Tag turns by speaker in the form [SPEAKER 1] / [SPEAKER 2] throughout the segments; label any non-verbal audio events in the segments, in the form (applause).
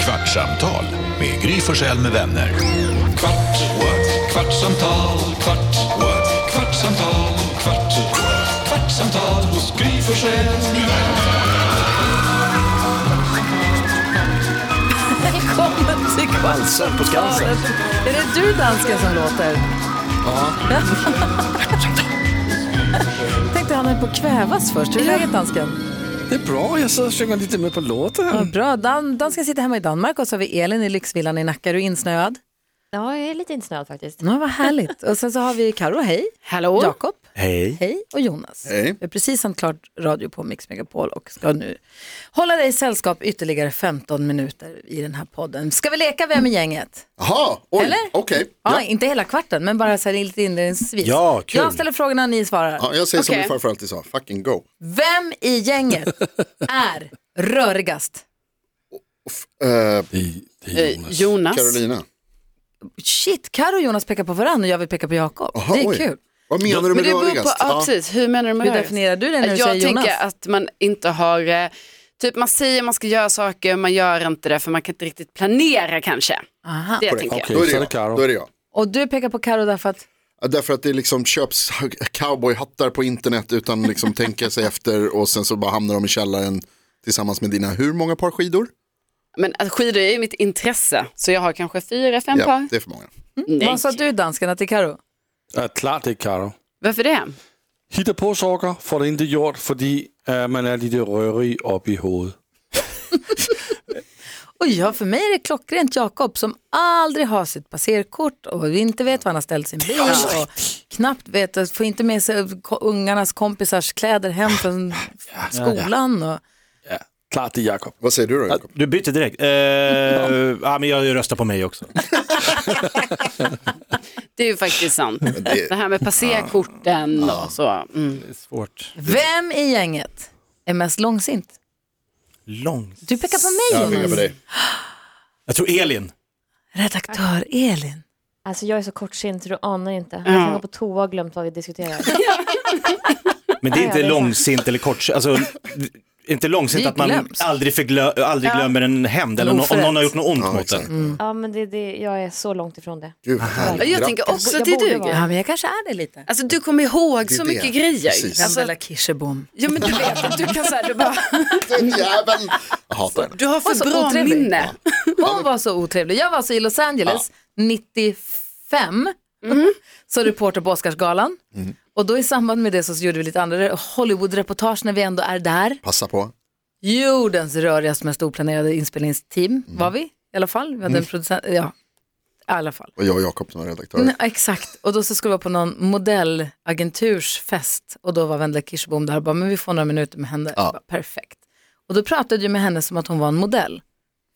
[SPEAKER 1] Kvartsamtal med Gry Forssell med vänner. Kvart, what? kvartsamtal, kvart, what? kvartsamtal, kvart, what? kvartsamtal hos Gry Forssell med vänner.
[SPEAKER 2] Välkommen till
[SPEAKER 3] Dansen på Skansen.
[SPEAKER 2] Kvartsamtalet. Är det du dansken som låter? (laughs) Ja. Tänkte han höll på att kvävas först. Hur är läget dansken? Mm.
[SPEAKER 3] Det är bra, jag så sjunger lite med på låten.
[SPEAKER 2] Ja, bra. Dan, dansken sitter hemma i Danmark och så har vi Elin i lyxvillan i Nacka. Är du insnöad?
[SPEAKER 4] Ja, jag är lite insnöad faktiskt.
[SPEAKER 2] Ja, vad härligt. Och sen så har vi Karo, hej. Hallå. Jakob,
[SPEAKER 3] Hej.
[SPEAKER 2] hej. Och Jonas. Hej. Vi har precis sänt klart radio på Mix Megapol och ska nu hålla dig sällskap ytterligare 15 minuter i den här podden. Ska vi leka Vem i gänget?
[SPEAKER 5] Jaha, oj,
[SPEAKER 2] Eller?
[SPEAKER 5] okej.
[SPEAKER 2] Ja,
[SPEAKER 5] Ja.
[SPEAKER 2] inte hela kvarten, men bara så här lite inledningsvis.
[SPEAKER 3] Ja, kul.
[SPEAKER 2] Jag ställer frågorna och ni svarar.
[SPEAKER 5] Ja, jag säger som
[SPEAKER 4] Okej.
[SPEAKER 5] min farfar alltid sa, fucking go.
[SPEAKER 2] Vem i gänget
[SPEAKER 5] (laughs)
[SPEAKER 2] är rörigast?
[SPEAKER 5] Eh,
[SPEAKER 3] Det är Jonas.
[SPEAKER 6] Jonas.
[SPEAKER 5] Carolina,
[SPEAKER 2] Shit, Karo och Jonas pekar på varandra och jag vill peka på Jakob.
[SPEAKER 5] Aha,
[SPEAKER 2] det är
[SPEAKER 5] oj.
[SPEAKER 2] kul.
[SPEAKER 5] vad menar du
[SPEAKER 6] Men
[SPEAKER 5] med
[SPEAKER 6] det beror på,
[SPEAKER 5] rörigast?
[SPEAKER 6] ja, precis. Hur menar du med
[SPEAKER 2] Hur
[SPEAKER 6] rörigast?
[SPEAKER 2] definierar du det när du
[SPEAKER 6] Jag
[SPEAKER 2] säger
[SPEAKER 6] tycker
[SPEAKER 2] Jonas?
[SPEAKER 6] att man inte har, eh, typ man säger man ska göra saker, man gör inte det för man kan inte riktigt planera kanske.
[SPEAKER 2] Aha.
[SPEAKER 6] Det
[SPEAKER 5] Korrekt.
[SPEAKER 6] tänker jag.
[SPEAKER 3] Okej,
[SPEAKER 5] Då är
[SPEAKER 3] så är det
[SPEAKER 5] det
[SPEAKER 3] Karo.
[SPEAKER 5] jag. Då är det jag.
[SPEAKER 2] Och du pekar på Karo därför att
[SPEAKER 5] Ja, Därför att det liksom köps cowboyhattar på internet utan
[SPEAKER 6] (laughs)
[SPEAKER 5] liksom tänka sig efter och sen så bara hamnar de i källaren tillsammans med dina hur många par skidor?
[SPEAKER 6] Men alltså, skidor är ju mitt intresse, så jag har kanske fyra, fem
[SPEAKER 5] Ja,
[SPEAKER 6] par.
[SPEAKER 5] det är för många.
[SPEAKER 6] Nej.
[SPEAKER 2] vad sa du danskarna till Karo?
[SPEAKER 3] Ja, klart det är Karo.
[SPEAKER 6] Varför det?
[SPEAKER 3] Hitta på saker, får det inte gjort, för man är lite rörig upp i huvudet.
[SPEAKER 2] Och ja, för mig är det klockrent Jakob som aldrig har sitt passerkort och inte vet var han har ställt sin bil och knappt vet, får inte med sig ko- ungarnas kompisars kläder hem från skolan. Och...
[SPEAKER 3] Klart det är Jakob.
[SPEAKER 5] Vad säger du då Jakob?
[SPEAKER 7] Du bytte
[SPEAKER 3] (laughs)
[SPEAKER 7] direkt. Eh, ja, men jag röstar på mig också.
[SPEAKER 6] Det är ju
[SPEAKER 5] (laughs)
[SPEAKER 6] faktiskt sant.
[SPEAKER 5] det-
[SPEAKER 6] Det här med passerkorten och så. Mm.
[SPEAKER 7] Svårt.
[SPEAKER 2] Vem i gänget är mest långsint?
[SPEAKER 7] Långt.
[SPEAKER 2] Du pekar på mig
[SPEAKER 5] Jag pekar på
[SPEAKER 2] Jonas.
[SPEAKER 5] dig.
[SPEAKER 7] Jag tror Elin.
[SPEAKER 2] Redaktör Elin.
[SPEAKER 4] Alltså jag är så kortsint så du anar inte. Jag kan gå på toa och glömt vad vi diskuterar.
[SPEAKER 7] Men det är
[SPEAKER 4] Ja,
[SPEAKER 7] inte
[SPEAKER 4] det är
[SPEAKER 7] långsint eller kort. Alltså, det är inte långsint
[SPEAKER 2] Det
[SPEAKER 7] att man
[SPEAKER 2] glöms.
[SPEAKER 7] aldrig, förglö- aldrig glömmer en hämnd eller
[SPEAKER 2] En
[SPEAKER 7] no- om någon
[SPEAKER 2] oförrätt.
[SPEAKER 7] har gjort något ont
[SPEAKER 5] Ja,
[SPEAKER 7] mot
[SPEAKER 5] exakt.
[SPEAKER 7] en.
[SPEAKER 4] Ja Mm. men det, det, jag är så långt ifrån det.
[SPEAKER 5] Gud,
[SPEAKER 6] Ja, Jag tänker också att det är
[SPEAKER 4] borde
[SPEAKER 6] du.
[SPEAKER 4] vara.
[SPEAKER 6] Gry.
[SPEAKER 2] Ja, men jag kanske är det lite.
[SPEAKER 6] Alltså du kommer ihåg
[SPEAKER 5] Det är
[SPEAKER 6] så
[SPEAKER 5] det.
[SPEAKER 6] mycket grejer.
[SPEAKER 5] Precis.
[SPEAKER 6] Alltså,
[SPEAKER 2] Isabella Kirsebom.
[SPEAKER 6] ja men du vet att du kan säga, du, bara,
[SPEAKER 5] Den jäveln. Jag hatar henne.
[SPEAKER 6] du har
[SPEAKER 2] Och så
[SPEAKER 6] för bra
[SPEAKER 2] otrevlig.
[SPEAKER 6] minne.
[SPEAKER 2] Hon var så otrevlig. Jag var så i Los Angeles 95
[SPEAKER 6] Mhm.
[SPEAKER 2] (laughs) som reporter på Oscarsgalan. Och då i samband med det så gjorde vi lite andra Hollywood-reportage när vi ändå är där.
[SPEAKER 5] Passa på.
[SPEAKER 2] Jordens rörigaste mest oplanerade inspelningsteam var vi i alla fall. Vi hade en producent, ja, i alla fall.
[SPEAKER 5] Och jag och Jakob som är redaktörer.
[SPEAKER 2] Nej, exakt, och då så skulle vi vara på någon modellagentursfest och då var Wendela Kirsebom där och bara, men vi får några minuter med henne. Jag Bara, Perfekt. Och då pratade jag med henne som att hon var en modell.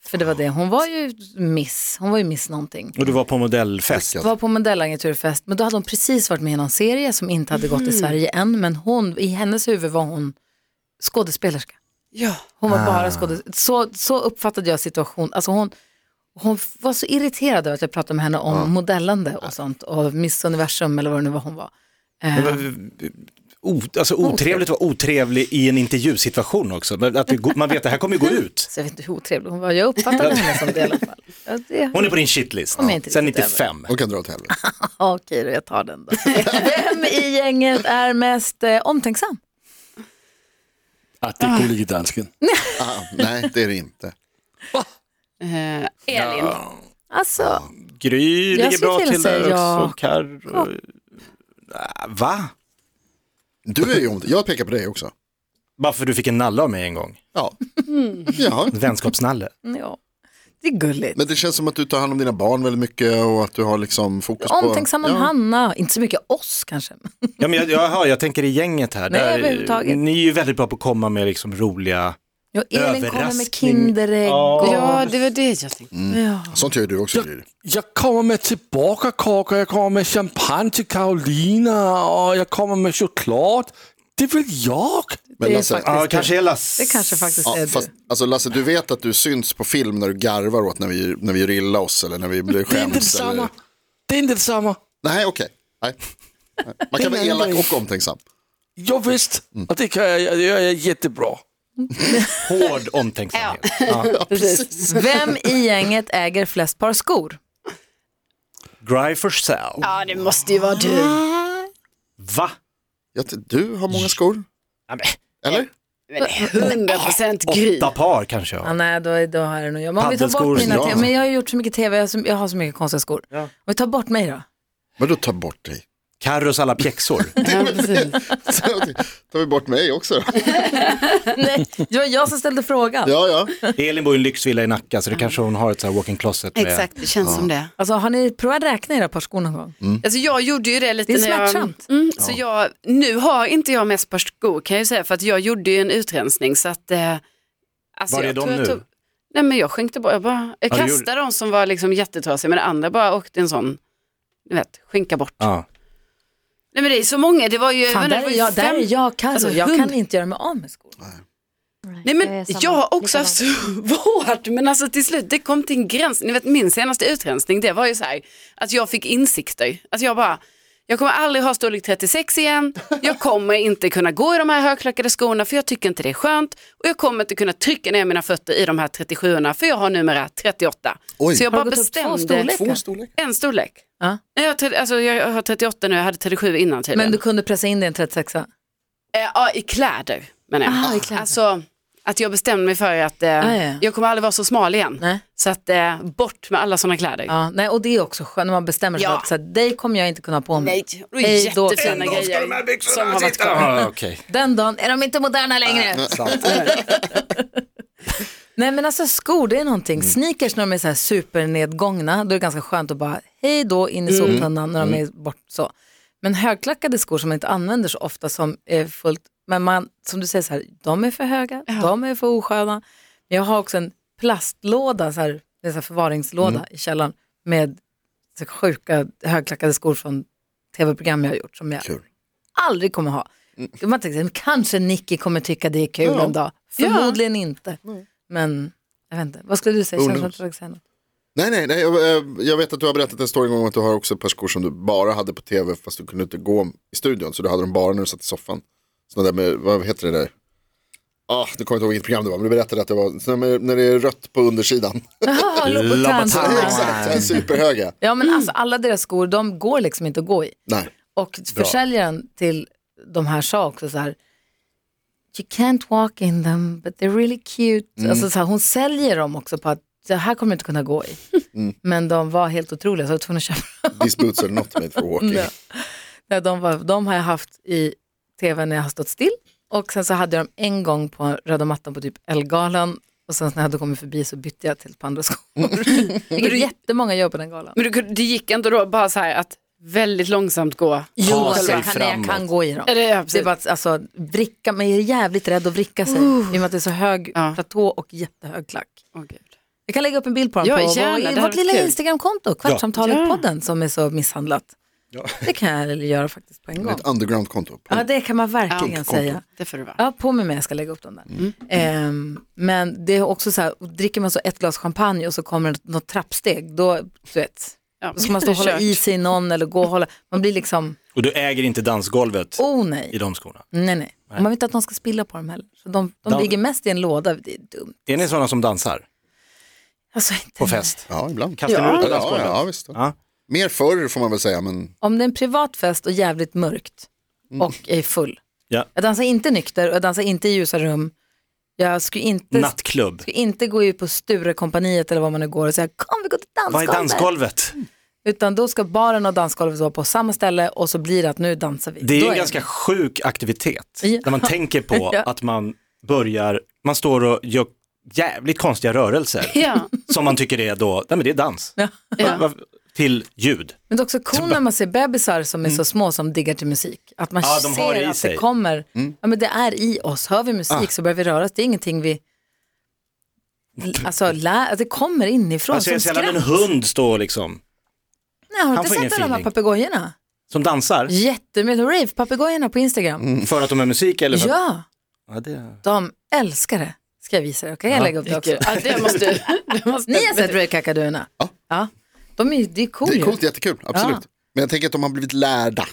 [SPEAKER 2] För det var det, hon var ju miss, hon var ju miss någonting.
[SPEAKER 7] Och du var på modellfest.
[SPEAKER 5] Lyckat.
[SPEAKER 2] Var på modellagenturfest, men då hade hon precis varit med i någon serie som inte hade gått i Sverige än, men hon, i hennes huvud var hon skådespelerska.
[SPEAKER 6] Ja.
[SPEAKER 2] Hon var
[SPEAKER 5] Ah.
[SPEAKER 2] bara skådespelare. Så, så uppfattade jag situationen. Alltså hon, hon var så irriterad över att jag pratade med henne om modellande och sånt och Miss Universum eller vad det nu var hon var.
[SPEAKER 7] Det var- eh, O, alltså otrevligt var otrevlig i en intervjusituation också. Men Att det går- man vet att det här kommer ju gå ut.
[SPEAKER 2] Så jag vet inte hur otrevlig hon var. Jag uppfattade henne som det i alla fall. Ja, det...
[SPEAKER 7] Hon är på din shitlist.
[SPEAKER 2] Hon är inte
[SPEAKER 7] Sen
[SPEAKER 2] riktigt
[SPEAKER 7] 95.
[SPEAKER 5] De kan dra åt helvete.
[SPEAKER 2] Ja, Okej då, jag tar den då. Vem i gänget är mest eh, omtänksam?
[SPEAKER 3] Ah, det är gulligt i dansken.
[SPEAKER 5] Ah, nej, det är det inte.
[SPEAKER 6] Eh, Elin.
[SPEAKER 2] Alltså,
[SPEAKER 7] Gry
[SPEAKER 2] Jag
[SPEAKER 7] ligger
[SPEAKER 2] skulle
[SPEAKER 7] bra
[SPEAKER 2] vilja
[SPEAKER 7] till där
[SPEAKER 2] säga ja.
[SPEAKER 7] också. Karro. Ah, Va?
[SPEAKER 5] Du är ju ont. Jag pekar på dig också.
[SPEAKER 7] Bara för du fick en nalle av mig en gång.
[SPEAKER 5] Ja. ja.
[SPEAKER 7] En vänskapsnalle.
[SPEAKER 2] ja. Det är gulligt.
[SPEAKER 5] Men det känns som att du tar hand om dina barn väldigt mycket och att du har liksom fokus på...
[SPEAKER 2] Omtänksam om
[SPEAKER 5] Ja.
[SPEAKER 2] Hanna, inte så mycket oss kanske.
[SPEAKER 7] Ja, men jag, jaha, jag tänker i gänget här.
[SPEAKER 2] Nej,
[SPEAKER 7] Där,
[SPEAKER 2] överhuvudtaget.
[SPEAKER 7] Ni är ju väldigt bra på att komma med liksom roliga...
[SPEAKER 2] Ja, Elin kommer med
[SPEAKER 7] Överraskning.
[SPEAKER 2] Kinderägg.
[SPEAKER 7] Ja.
[SPEAKER 2] och-
[SPEAKER 7] Mm.
[SPEAKER 6] Ja, det var det jag tänkte.
[SPEAKER 2] Ja.
[SPEAKER 5] Sånt gör ju du också, Gry.
[SPEAKER 3] Jag kommer med tillbakakakor, jag kommer med champagne till Karolina och jag kommer med choklad. Det vill jag.
[SPEAKER 5] Men
[SPEAKER 2] Det är
[SPEAKER 5] Lasse,
[SPEAKER 2] faktiskt-
[SPEAKER 7] Ja, kanske är Lasse.
[SPEAKER 2] Det kanske faktiskt
[SPEAKER 5] ja,
[SPEAKER 2] är
[SPEAKER 5] fast,
[SPEAKER 2] du.
[SPEAKER 5] alltså Lasse, du vet att du syns på film när du garvar åt när vi, när vi gör illa oss eller när vi blir
[SPEAKER 3] Det är inte
[SPEAKER 5] skäms. Eller...
[SPEAKER 3] detsamma. Det är inte detsamma.
[SPEAKER 5] Nej, okej. Nej. Nej. Man kan vara elak och omtänksam.
[SPEAKER 3] Mm. Jo, visst. Och det kan jag, jag, jag är jättebra.
[SPEAKER 7] Hård omtänksamhet. Ja.
[SPEAKER 2] Precis. Vem i gänget äger flest par skor?
[SPEAKER 7] Gry Forssell.
[SPEAKER 6] Ja, det måste ju vara du.
[SPEAKER 7] Va?
[SPEAKER 5] Ja, du har många skor,
[SPEAKER 7] Ja, men,
[SPEAKER 5] eller?
[SPEAKER 6] Men 100% Gry.
[SPEAKER 7] Åtta par kanske jag
[SPEAKER 2] Ja,
[SPEAKER 7] har.
[SPEAKER 2] nej, då, då har jag nog jag. Men om vi tar
[SPEAKER 7] Paddelskor,
[SPEAKER 2] bort mina
[SPEAKER 7] ja.
[SPEAKER 2] te- men jag har ju gjort så mycket tv, jag har så, jag har så mycket konstiga skor. Om vi tar bort mig då. (laughs)
[SPEAKER 5] Vadå ta bort dig? (laughs)
[SPEAKER 7] Carros alla pjäxor.
[SPEAKER 5] Tar vi bort mig också då?
[SPEAKER 2] nej, det var jag som ställde frågan.
[SPEAKER 5] Ja, ja.
[SPEAKER 7] Elin bor i en lyxvilla i Nacka så det kanske hon har ett så här walk-in closet med.
[SPEAKER 6] Exakt, det känns som det.
[SPEAKER 2] Alltså, har ni provat räkna era par skor någon gång?
[SPEAKER 7] Mm.
[SPEAKER 6] Alltså jag gjorde ju det lite
[SPEAKER 2] Det är
[SPEAKER 6] när
[SPEAKER 2] smärtsamt.
[SPEAKER 6] Jag, mm, så jag, nu har inte jag mest par skor kan jag ju säga för att jag gjorde ju en utrensning så att... Eh, alltså
[SPEAKER 7] Var är
[SPEAKER 6] jag
[SPEAKER 7] de
[SPEAKER 6] tror jag
[SPEAKER 7] nu?
[SPEAKER 6] tog- nej men jag skänkte bort, jag, bara, jag
[SPEAKER 7] Ja, du gjorde-
[SPEAKER 6] kastade de som var liksom jättetrasiga men det andra bara åkte en sån, du vet, skänka bort.
[SPEAKER 7] Ja.
[SPEAKER 6] Nej men det är så många, det var ju... jag
[SPEAKER 2] Fan,
[SPEAKER 6] vet
[SPEAKER 2] där,
[SPEAKER 6] inte,
[SPEAKER 2] är
[SPEAKER 6] det var
[SPEAKER 2] jag,
[SPEAKER 6] ju
[SPEAKER 2] där
[SPEAKER 6] fem-
[SPEAKER 2] är jag Karo.
[SPEAKER 6] alltså,
[SPEAKER 2] jag kan
[SPEAKER 6] hund-
[SPEAKER 2] inte göra mig av med skor.
[SPEAKER 6] Nej
[SPEAKER 4] Jag
[SPEAKER 6] men
[SPEAKER 4] är
[SPEAKER 6] jag,
[SPEAKER 4] samma.
[SPEAKER 6] har också haft
[SPEAKER 4] Likadant.
[SPEAKER 6] (laughs) svårt, men alltså till slut det kom till en gräns. Ni vet min senaste utrensning det var ju så här att jag fick insikter. Alltså jag bara, jag kommer aldrig ha storlek 36 igen, jag kommer inte kunna gå i de här högklackade skorna för jag tycker inte det är skönt och jag kommer inte kunna trycka ner mina fötter i de här 37 orna för jag har numera 38.
[SPEAKER 5] Oj.
[SPEAKER 6] Så jag
[SPEAKER 2] Har
[SPEAKER 6] bara
[SPEAKER 2] du gått upp två
[SPEAKER 6] bestämde,
[SPEAKER 2] storlekar? Två
[SPEAKER 6] en storlek.
[SPEAKER 2] Ja.
[SPEAKER 6] Nej, Jag, har- alltså, jag har 38 nu, jag hade 37 innan tydligen.
[SPEAKER 2] Men du kunde pressa in dig i en 36 ah,
[SPEAKER 6] Eh, Ja, i kläder menar jag.
[SPEAKER 2] i kläder. Ah,
[SPEAKER 6] Alltså att jag bestämde mig för att eh,
[SPEAKER 2] ja.
[SPEAKER 6] jag kommer aldrig vara så smal igen.
[SPEAKER 2] Nej.
[SPEAKER 6] Så att eh, bort med alla sådana kläder.
[SPEAKER 2] Ja, nej, och det är också skönt när man bestämmer sig
[SPEAKER 6] Ja.
[SPEAKER 2] för att så här, dig kommer jag inte kunna ha på mig.
[SPEAKER 6] Nej, det är
[SPEAKER 2] Hej då,
[SPEAKER 6] jättefina
[SPEAKER 2] Karo.
[SPEAKER 6] grejer som har varit kvar.
[SPEAKER 7] Ja, Ah, okej.
[SPEAKER 2] Den dagen är de inte moderna längre. Nej men alltså skor det är någonting. Sneakers när de är så här supernedgångna då är det ganska skönt att bara hej då in i soptunnan när de är bort så. Men högklackade skor som man inte använder så ofta som är fullt, men man, som du säger så här, de är för höga, de är för osköna. Men jag har också en plastlåda, så här, det är så här förvaringslåda i källaren med så här sjuka högklackade skor från tv-program jag har gjort som jag
[SPEAKER 5] Kul.
[SPEAKER 2] aldrig kommer ha. Man tänker, så här, kanske Nicky kommer tycka det är kul en dag, förmodligen inte. Men jag vet inte, vad skulle du säga?
[SPEAKER 5] Who
[SPEAKER 2] Känns som
[SPEAKER 5] knows?
[SPEAKER 2] att du säga något.
[SPEAKER 5] Nej, nej, nej. Jag, eh, jag vet att du har berättat en story en gång om att du har också ett par skor som du bara hade på tv fast du kunde inte gå i studion. Så du hade dem bara när du satt i soffan. Sådana där med, vad heter det där? Ah, nu kommer jag inte ihåg vilket program det var, men du berättade att det var sådana med, när det är rött på undersidan. (laughs)
[SPEAKER 2] Jaha, Louboutin.
[SPEAKER 7] Louboutin.
[SPEAKER 5] Exakt, så här superhöga.
[SPEAKER 2] Ja men alltså alla deras skor, de går liksom inte att gå i.
[SPEAKER 5] Nej,
[SPEAKER 2] Och försäljaren till de här sa också så här, you can't walk in them but they're really cute.
[SPEAKER 7] Mm.
[SPEAKER 2] Alltså så här, hon säljer dem också på att det här kommer du inte kunna gå i.
[SPEAKER 7] (laughs) Mm.
[SPEAKER 2] Men de var helt otroliga så jag var tvungen att köpa (laughs)
[SPEAKER 5] these boots are not made for walking.
[SPEAKER 2] Ja. Nej, de, var, de har jag haft i tv när jag har stått still. Och sen så hade jag dem en gång på röda mattan på typ Ellegalan. Och sen när jag hade kommit förbi så bytte jag till ett par andra
[SPEAKER 7] (laughs)
[SPEAKER 2] skor. (laughs) Vilket jättemånga gör på den galan.
[SPEAKER 6] Men du, kunde- det gick ändå då bara så här att väldigt långsamt gå.
[SPEAKER 2] Jo,
[SPEAKER 7] Ta
[SPEAKER 2] alltså,
[SPEAKER 7] sig
[SPEAKER 2] jag, kan, nej, jag kan
[SPEAKER 7] framåt.
[SPEAKER 2] gå i dem.
[SPEAKER 6] Eller, ja, precis.
[SPEAKER 2] Det är bara att alltså, vricka, men jag är jävligt rädd att vricka sig. I och med att det är så hög
[SPEAKER 6] Ja.
[SPEAKER 2] platå och jättehög klack.
[SPEAKER 6] Åh, gud.
[SPEAKER 2] Jag kan lägga upp en bild på dem
[SPEAKER 6] Ja,
[SPEAKER 2] på
[SPEAKER 6] gärna, det
[SPEAKER 2] vår,
[SPEAKER 6] hade
[SPEAKER 2] vårt
[SPEAKER 6] varit
[SPEAKER 2] lilla
[SPEAKER 6] kul.
[SPEAKER 2] Instagramkonto, Kvartsamtalet-podden som är så misshandlat.
[SPEAKER 7] Ja.
[SPEAKER 2] Det kan jag göra faktiskt på en gång.
[SPEAKER 5] Ett underground-konto.
[SPEAKER 7] Ah.
[SPEAKER 2] Ja, det kan man verkligen
[SPEAKER 5] Ja.
[SPEAKER 2] säga.
[SPEAKER 6] Det får det vara.
[SPEAKER 2] Ja, på mig med, jag ska lägga upp dem där. Ehm, men det är också så här, och dricker man så ett glas champagne och så kommer det något trappsteg, då, du vet,
[SPEAKER 6] Ja,
[SPEAKER 2] då ska man stå och hålla i sig någon eller gå och hålla, man blir liksom,
[SPEAKER 7] Och du äger inte dansgolvet
[SPEAKER 2] oh
[SPEAKER 7] i
[SPEAKER 2] nej,
[SPEAKER 7] de skorna.
[SPEAKER 2] nej nej. Och man vill inte att någon ska spilla på dem heller. Så de, de
[SPEAKER 7] Dans-
[SPEAKER 2] ligger mest i en låda, det är dumt.
[SPEAKER 7] Är ni sådana som dansar
[SPEAKER 2] Alltså, inte
[SPEAKER 7] på
[SPEAKER 2] nu.
[SPEAKER 7] fest?
[SPEAKER 5] Ja, ibland.
[SPEAKER 7] Kastar ni
[SPEAKER 5] ja,
[SPEAKER 7] ut
[SPEAKER 5] ja,
[SPEAKER 7] dansgolvet?
[SPEAKER 5] ja, visst.
[SPEAKER 7] Ja.
[SPEAKER 5] Mer förr får man väl säga, men
[SPEAKER 2] (laughs)
[SPEAKER 7] Oh,
[SPEAKER 2] Om det är en privat fest och jävligt mörkt och är full.
[SPEAKER 7] Mm. Ja.
[SPEAKER 2] Jag dansar inte nykter och jag dansar inte i ljusa rum. Jag skulle inte,
[SPEAKER 7] Nattklubb.
[SPEAKER 2] skulle inte gå ut på Sturecompagniet eller var man nu går och säga kom vi går till
[SPEAKER 7] Vad är dansgolvet?
[SPEAKER 2] Utan då ska baren och dansgolvet vara på samma ställe och så blir det att nu dansar vi.
[SPEAKER 7] Det
[SPEAKER 2] Då
[SPEAKER 7] är en ganska sjuk aktivitet
[SPEAKER 2] Ja.
[SPEAKER 7] när man tänker på
[SPEAKER 2] (laughs) Ja.
[SPEAKER 7] att man börjar, man står och gör jävligt konstiga
[SPEAKER 2] (laughs)
[SPEAKER 7] rörelser
[SPEAKER 6] Ja,
[SPEAKER 7] som man tycker är då, nej men det är dans,
[SPEAKER 6] ja.
[SPEAKER 7] Va- till ljud.
[SPEAKER 2] Men det är också coolt när man ser bebisar som är så små som diggar till musik. Att man
[SPEAKER 7] Mm. Ja, de har
[SPEAKER 2] ser
[SPEAKER 7] det i
[SPEAKER 2] att det
[SPEAKER 7] sig. Mm. Ah.
[SPEAKER 2] kommer, ja men det är i oss. Hör vi musik så börjar vi röra oss. Det är ingenting vi, alltså lä... alltså, det kommer inifrån
[SPEAKER 7] Alltså jag ser
[SPEAKER 2] som
[SPEAKER 7] sällan
[SPEAKER 2] skratt.
[SPEAKER 7] en hund stå liksom,
[SPEAKER 2] Nej, har du
[SPEAKER 7] Han
[SPEAKER 2] inte
[SPEAKER 7] får ingen
[SPEAKER 2] sett alla de här
[SPEAKER 7] feeling.
[SPEAKER 2] papegojorna?
[SPEAKER 7] som dansar
[SPEAKER 2] Jättemycket, rave-papegojorna på Instagram.
[SPEAKER 7] för att de Mm. är musik eller för att,
[SPEAKER 2] Ja,
[SPEAKER 7] ja, det...
[SPEAKER 2] de älskar det. Ska jag visa dig? Kan jag lägga upp det
[SPEAKER 7] (laughs)
[SPEAKER 2] också?
[SPEAKER 6] Ja, det måste du. Det måste
[SPEAKER 2] Ni har sett rave-kakaduerna? Ja. ja. De är, ju- det är coolt.
[SPEAKER 5] det är
[SPEAKER 2] ju.
[SPEAKER 7] Ah.
[SPEAKER 5] coolt, jättekul, absolut.
[SPEAKER 2] Ja.
[SPEAKER 5] Men jag tänker att de har blivit lärda.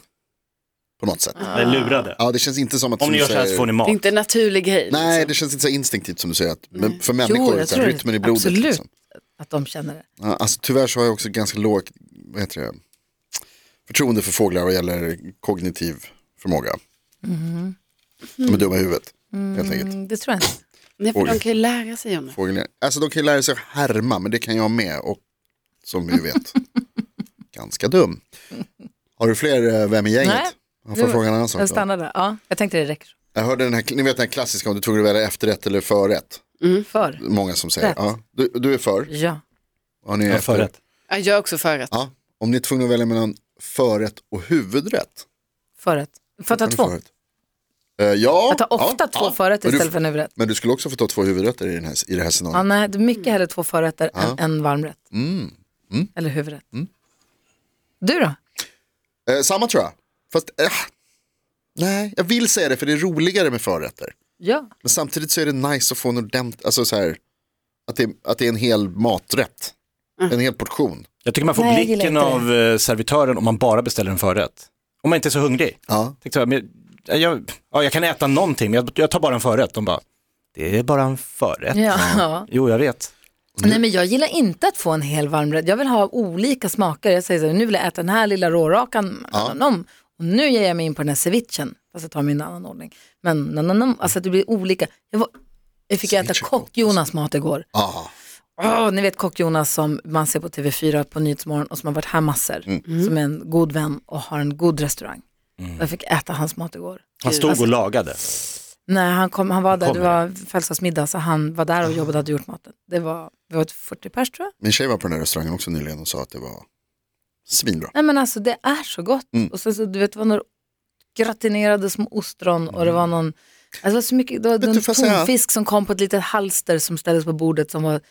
[SPEAKER 5] På något sätt.
[SPEAKER 7] Eller lurade.
[SPEAKER 5] Ja, det känns inte som att...
[SPEAKER 7] Om
[SPEAKER 5] som
[SPEAKER 7] ni
[SPEAKER 5] du
[SPEAKER 7] gör så här
[SPEAKER 5] säger-
[SPEAKER 7] så får ni mat.
[SPEAKER 6] Det är inte en naturlig grej. liksom.
[SPEAKER 5] Nej, det känns inte så instinktivt som du säger. Att, men
[SPEAKER 2] liksom?
[SPEAKER 5] för
[SPEAKER 2] Mm. Jo,
[SPEAKER 5] människor,
[SPEAKER 2] jag
[SPEAKER 5] så
[SPEAKER 2] tror
[SPEAKER 5] här,
[SPEAKER 2] det.
[SPEAKER 5] rytmen i blodet.
[SPEAKER 2] Absolut
[SPEAKER 5] Liksom.
[SPEAKER 2] att de känner det.
[SPEAKER 5] Ja, alltså, tyvärr så har jag också ganska lågt vad heter det, förtroende för fåglar vad gäller kognitiv förmåga. De är dumma i huvudet, helt enkelt.
[SPEAKER 2] Mm-hmm. Mm, det tror jag inte.
[SPEAKER 6] Nej, för
[SPEAKER 5] Oj.
[SPEAKER 6] de kan ju lära sig om det.
[SPEAKER 5] Fågeln. Alltså de kan ju lära sig att härma, men det kan jag med. Och som vi
[SPEAKER 2] (laughs)
[SPEAKER 5] vet, ganska dum. Har du fler eh, Vem i gänget?
[SPEAKER 2] Nej.
[SPEAKER 5] Jag får
[SPEAKER 2] Nu-
[SPEAKER 5] fråga en annan sak.
[SPEAKER 2] Jag
[SPEAKER 5] då.
[SPEAKER 2] stannar där. Ja, jag tänkte det räcker.
[SPEAKER 5] Jag hörde den här, ni vet den här klassiska om du tog det väl efterrätt eller förrätt.
[SPEAKER 2] För.
[SPEAKER 5] Många som säger,
[SPEAKER 2] Rätt.
[SPEAKER 5] ja, du, du är för.
[SPEAKER 2] Ja.
[SPEAKER 5] Har ni
[SPEAKER 7] Ja,
[SPEAKER 5] efter-
[SPEAKER 7] förrätt.
[SPEAKER 6] Ja, Jag är också förrätt.
[SPEAKER 5] Ja, om ni är tvungna att välja mellan förrätt och huvudrätt.
[SPEAKER 2] Förrätt. Får jag ta
[SPEAKER 5] kan ni
[SPEAKER 2] två?
[SPEAKER 5] förrätt. Eh, ja.
[SPEAKER 2] Jag tar ofta
[SPEAKER 5] ja,
[SPEAKER 2] två
[SPEAKER 5] ja.
[SPEAKER 2] förrätter
[SPEAKER 5] Men du-
[SPEAKER 2] istället för en huvudrätt.
[SPEAKER 5] Men du skulle också få ta två huvudrätter i, den här, i det här
[SPEAKER 2] Ja,
[SPEAKER 5] scenariot.
[SPEAKER 2] nej, det är mycket hellre två förrätter
[SPEAKER 5] Ja.
[SPEAKER 2] än en varmrätt.
[SPEAKER 5] Mm.
[SPEAKER 2] Eller huvudrätt. Du då?
[SPEAKER 5] Eh, samma tror jag. Fast, eh, nej, jag vill säga det för det är roligare med förrätter.
[SPEAKER 2] Ja.
[SPEAKER 5] Men samtidigt så är det nice att få en ordentlig, alltså så här, att det, att det är en hel maträtt.
[SPEAKER 2] Mm.
[SPEAKER 5] En hel portion.
[SPEAKER 7] Jag tycker man får
[SPEAKER 4] Nej, jag gillar
[SPEAKER 7] blicken
[SPEAKER 4] inte
[SPEAKER 7] av eh, servitören om man bara beställer en förrätt. Om man inte är så hungrig.
[SPEAKER 5] Ja.
[SPEAKER 7] Tänkte jag, men, jag, jag, ja, jag kan äta någonting, men jag, jag tar bara en förrätt. De bara, det är bara en förrätt.
[SPEAKER 2] ja. (laughs)
[SPEAKER 7] Jo, jag vet.
[SPEAKER 2] Nej, men jag gillar inte att få en hel varmrätt. Jag vill ha olika smaker. Jag säger så här, nu vill jag äta den här lilla rårakan. Nananam. Och nu ger jag mig in på den här cevichen. Fast jag tar min annan ordning. Men nananam, alltså det blir olika. Jag, var, jag fick ju äta
[SPEAKER 5] Ceviche är gott,
[SPEAKER 2] kock-Jonas mat igår.
[SPEAKER 5] Ah.
[SPEAKER 2] Åh, ni vet kock-Jonas som man ser på TV4 på Nyhetsmorgon och som har varit här massor. Som är en god vän och har en god restaurang. Jag fick äta hans mat igår.
[SPEAKER 7] Han stod och lagade.
[SPEAKER 2] Nej, han, kom, han var där, det
[SPEAKER 7] kommer.
[SPEAKER 2] var födelsedagsmiddag, så han var där och jobbade och hade gjort maten. Det var, vi var ett 40 pers tror jag.
[SPEAKER 5] Min tjej var på den här restaurangen också nyligen och sa att det var svinbra.
[SPEAKER 2] Nej men alltså det är så gott.
[SPEAKER 5] Mm.
[SPEAKER 2] Och sen så, du vet, det var några gratinerade små ostron och det var någon, alltså det var så mycket, det var
[SPEAKER 5] Mm. du,
[SPEAKER 2] en
[SPEAKER 5] får jag säga-
[SPEAKER 2] tonfisk som kom på ett litet halster som ställdes på bordet som var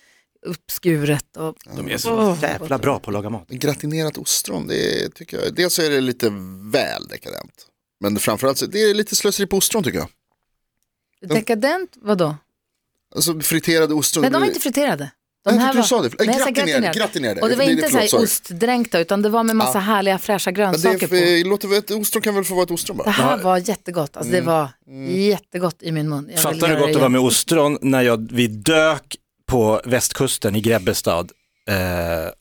[SPEAKER 2] uppskuret. Och,
[SPEAKER 7] De är så jävla bra på att laga mat.
[SPEAKER 5] Gratinerat ostron, det tycker jag. Dels så är det lite väl dekadent. Men framförallt så det är lite slöseri på ostron tycker jag.
[SPEAKER 2] Dekadent, vadå?
[SPEAKER 5] Alltså friterade ostron.
[SPEAKER 2] Nej de
[SPEAKER 5] det
[SPEAKER 2] var
[SPEAKER 5] blir-
[SPEAKER 2] inte friterade. De
[SPEAKER 5] Jag
[SPEAKER 2] här
[SPEAKER 5] tyckte du
[SPEAKER 2] var-
[SPEAKER 5] sa det.
[SPEAKER 2] Nej, jag sa
[SPEAKER 5] Gratinerade. gratinerade. gratinerade.
[SPEAKER 2] Och det var
[SPEAKER 5] Nej,
[SPEAKER 2] inte så
[SPEAKER 5] förlåt,
[SPEAKER 2] här
[SPEAKER 5] sorry.
[SPEAKER 2] ostdränkta utan det var med massa härliga fräscha
[SPEAKER 5] Men det,
[SPEAKER 2] grönsaker
[SPEAKER 5] är-
[SPEAKER 2] på. Det
[SPEAKER 5] eh, låter väl, ett ostron kan väl få vara ett ostron bara?
[SPEAKER 2] här var jättegott, alltså,
[SPEAKER 5] Mm.
[SPEAKER 2] det var jättegott i min mun. Jag vill
[SPEAKER 7] Fattar du
[SPEAKER 2] göra
[SPEAKER 7] gott att
[SPEAKER 2] igen.
[SPEAKER 7] vara med ostron när jag, vi dök på västkusten i Grebbestad, eh, f-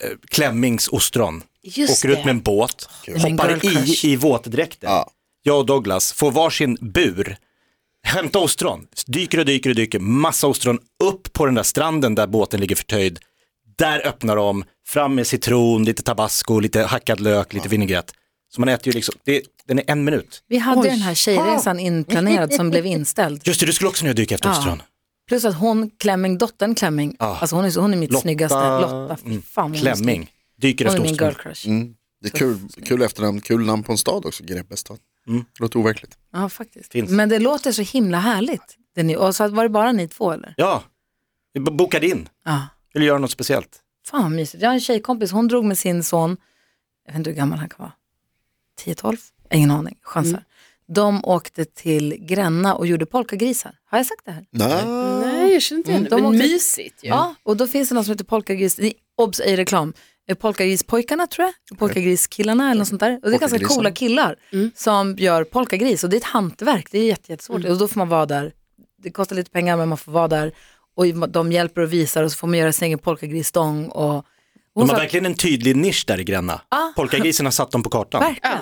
[SPEAKER 7] eh, Klemmings ostron.
[SPEAKER 6] Just
[SPEAKER 7] Åker ut med en båt,
[SPEAKER 2] Men girl
[SPEAKER 7] hoppar i,
[SPEAKER 2] crush.
[SPEAKER 7] i våtdräkten.
[SPEAKER 5] Ja.
[SPEAKER 7] Jag och Douglas får varsin bur, hämta ostron, dyker och dyker och dyker, massa ostron upp på den där stranden där båten ligger förtöjd. Där öppnar de, fram med citron, lite tabasco, lite hackad lök, lite vinägrett. Så man äter ju liksom, det, den är en minut.
[SPEAKER 2] Vi hade den här tjejresan inplanerad
[SPEAKER 5] (laughs)
[SPEAKER 2] som blev inställd.
[SPEAKER 7] Just det, du skulle också ner och dyka efter ostron.
[SPEAKER 2] Plus att hon, Klemming, dottern Klemming, alltså hon är, så- hon är mitt
[SPEAKER 7] Ah. Lotta-
[SPEAKER 2] snyggaste, Lotta, fy fan hon är snygg.
[SPEAKER 7] Klemming, dyker
[SPEAKER 2] Hon är
[SPEAKER 7] efter
[SPEAKER 2] min girl
[SPEAKER 7] ostron.
[SPEAKER 2] crush.
[SPEAKER 5] Mm. Det är kul, kul efternamn, kul namn på en stad också, Grebbestad. Låter overkligt.
[SPEAKER 2] Ja, faktiskt.
[SPEAKER 7] Finns.
[SPEAKER 2] Men det låter så himla härligt. Det ni, och så var det bara ni två eller?
[SPEAKER 7] Ja, vi b- bokade in,
[SPEAKER 2] Ja.
[SPEAKER 7] vill göra något speciellt.
[SPEAKER 2] Fan vad mysigt. Jag har en tjejkompis, hon drog med sin son, jag vet inte hur gammal han kan vara, 10-12? Ingen aning, chansar.
[SPEAKER 7] Mm.
[SPEAKER 2] De åkte till Gränna och gjorde polkagrisar. Har jag sagt det här?
[SPEAKER 5] Nej.
[SPEAKER 6] Nej, jag känner inte igen
[SPEAKER 2] Mm,
[SPEAKER 6] det.
[SPEAKER 2] de
[SPEAKER 6] Men
[SPEAKER 2] åkte-
[SPEAKER 6] mysigt ju.
[SPEAKER 2] Ja, och då finns det något som heter polkagris, nej, obs, ej reklam, Eh, polkagrispojkarna tror jag, polkagriskillarna eller något sånt där. Och det är ganska
[SPEAKER 5] Polkagrisarna.
[SPEAKER 2] coola killar som gör polkagris och det är ett hantverk, det är jätte, jättesvårt. Och då får man vara där, det kostar lite pengar men man får vara där och de hjälper och visar och så får man göra sin egen polkagrisstång och
[SPEAKER 7] De
[SPEAKER 2] hon
[SPEAKER 7] har
[SPEAKER 2] sa-
[SPEAKER 7] verkligen en tydlig nisch där i Gränna. Polkagrisen har satt dem på kartan.
[SPEAKER 2] Verkligen.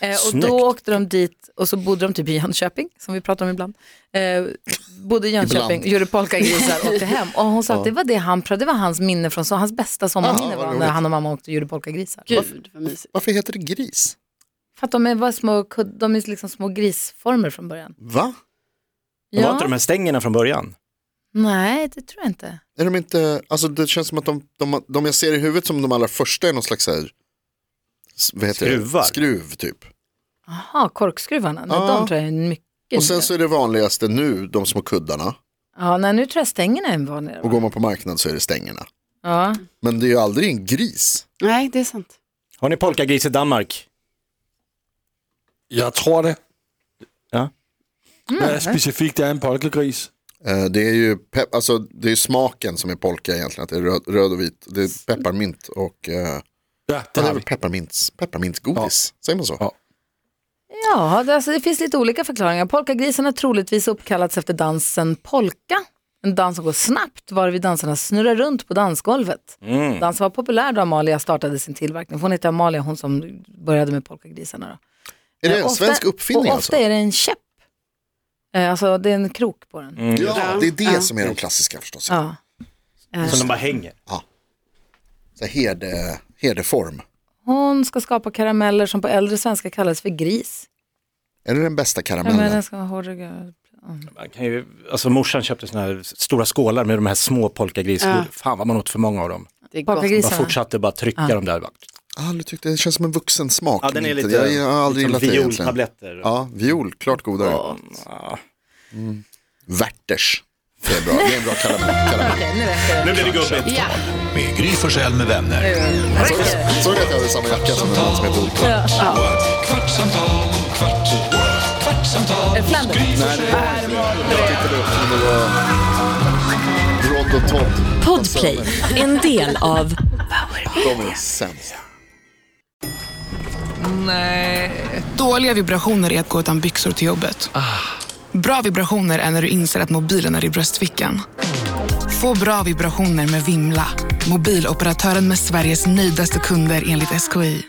[SPEAKER 2] Eh, och
[SPEAKER 7] Snyggt.
[SPEAKER 2] då åkte de dit och så bodde de typ i Jönköping, som vi pratar om ibland. Eh, bodde i Jönköping,
[SPEAKER 5] Ibland.
[SPEAKER 2] gjorde polkagrisar
[SPEAKER 5] (laughs)
[SPEAKER 2] och åkte hem. Och hon sa att det var, det han, pra- det var hans minne från, så hans bästa sommarminne
[SPEAKER 5] Ah, vad
[SPEAKER 2] var
[SPEAKER 5] roligt.
[SPEAKER 2] när han och mamma åkte och gjorde polkagrisar.
[SPEAKER 6] Gud, vad mysigt.
[SPEAKER 5] Varför heter det gris?
[SPEAKER 2] För att de är, var små, kud- de är liksom små grisformer från början.
[SPEAKER 5] Va?
[SPEAKER 7] Det var inte de här stängerna från början.
[SPEAKER 2] Nej, det tror jag inte.
[SPEAKER 5] Är de inte, alltså det känns som att de, de, de jag ser i huvudet som de allra första är någon slags så här, s- vad heter
[SPEAKER 7] Skruvar.
[SPEAKER 5] Det? Skruv typ.
[SPEAKER 2] Jaha, korkskruvarna, nej,
[SPEAKER 5] Ja.
[SPEAKER 2] de tror jag är mycket
[SPEAKER 5] Och sen
[SPEAKER 2] nya.
[SPEAKER 5] så är det vanligaste nu de små kuddarna.
[SPEAKER 2] Ja, nej, nu tror jag stängerna är vanligare.
[SPEAKER 5] Och
[SPEAKER 2] va?
[SPEAKER 5] går man på marknad så är det stängerna.
[SPEAKER 2] Ja.
[SPEAKER 5] Men det är ju aldrig en gris.
[SPEAKER 6] Nej, det är sant.
[SPEAKER 7] Har ni polkagris i Danmark?
[SPEAKER 3] Jeg tror det.
[SPEAKER 7] Ja.
[SPEAKER 3] Hvad er specifikt er en polkegris?
[SPEAKER 5] Eh, Det är ju pep, alltså, det är ju smaken som är polka egentligen. Att det är röd, röd och vit. Det är pepparmint och eh,
[SPEAKER 3] Ja,
[SPEAKER 5] det
[SPEAKER 3] det
[SPEAKER 5] är
[SPEAKER 3] har
[SPEAKER 5] väl
[SPEAKER 3] vi.
[SPEAKER 5] pepparmints, pepparmintsgodis. Säger man så?
[SPEAKER 3] Ja.
[SPEAKER 2] Ja, det, alltså, det finns lite olika förklaringar. Polkagrisen har troligtvis uppkallats efter dansen polka. En dans som går snabbt, varvid dansarna snurrar runt på dansgolvet. Dansen var populär då Amalia startade sin tillverkning. Hon heter Amalia, hon som började med polkagrisarna. Då.
[SPEAKER 5] Är det en
[SPEAKER 2] Eh, ofta-
[SPEAKER 5] svensk uppfinning
[SPEAKER 2] och
[SPEAKER 5] alltså?
[SPEAKER 2] Ofta är det en käpp. Eh, Alltså det är en krok på den.
[SPEAKER 5] Ja, det är det som är de klassiska förstås.
[SPEAKER 2] Ja.
[SPEAKER 6] Äh.
[SPEAKER 7] Som de bara hänger.
[SPEAKER 5] Så här herde, herdeform.
[SPEAKER 2] Hon ska skapa karameller som på äldre svenska kallades för gris.
[SPEAKER 5] Är det den bästa
[SPEAKER 2] Ja, men
[SPEAKER 5] karamellen?
[SPEAKER 2] den ska vara hård och gul.
[SPEAKER 7] Man kan ju, alltså morsan köpte såna här stora skålar med de här små polkagrisar.
[SPEAKER 6] Ja.
[SPEAKER 7] Fan vad man åt för många av dem.
[SPEAKER 6] Det är gott.
[SPEAKER 7] Bara
[SPEAKER 2] Polkagrisarna.
[SPEAKER 7] fortsatte bara trycka dem där. Bara.
[SPEAKER 5] Jag har aldrig tyckt Ah, det. det känns som en vuxen smak.
[SPEAKER 7] Ja, den är lite,
[SPEAKER 5] jag, jag har aldrig
[SPEAKER 7] liksom
[SPEAKER 5] gillat det egentligen.
[SPEAKER 7] violtabletter.
[SPEAKER 5] Ja, viol, klart godare. Ja. Werthers. Det är bra, det är en bra karamell. karamell.
[SPEAKER 2] Okej, nu räcker det.
[SPEAKER 7] Nu blir det gubbigt.
[SPEAKER 6] Ja,
[SPEAKER 1] Med Gry Forssell med vänner.
[SPEAKER 5] Såg du att jag hade samma jacka som en man som är god?
[SPEAKER 1] Kvartsamtal, kvart, kvartsamtal
[SPEAKER 2] Eh, Flandern.
[SPEAKER 5] Rod och Todd,
[SPEAKER 8] Podplay, en del av
[SPEAKER 5] de är sämst.
[SPEAKER 9] Dåliga vibrationer är att gå utan byxor till jobbet. Bra vibrationer är när du inser att mobilen är i bröstfickan. Få bra vibrationer med Vimla. Mobiloperatören med Sveriges nöjdaste kunder enligt SKI.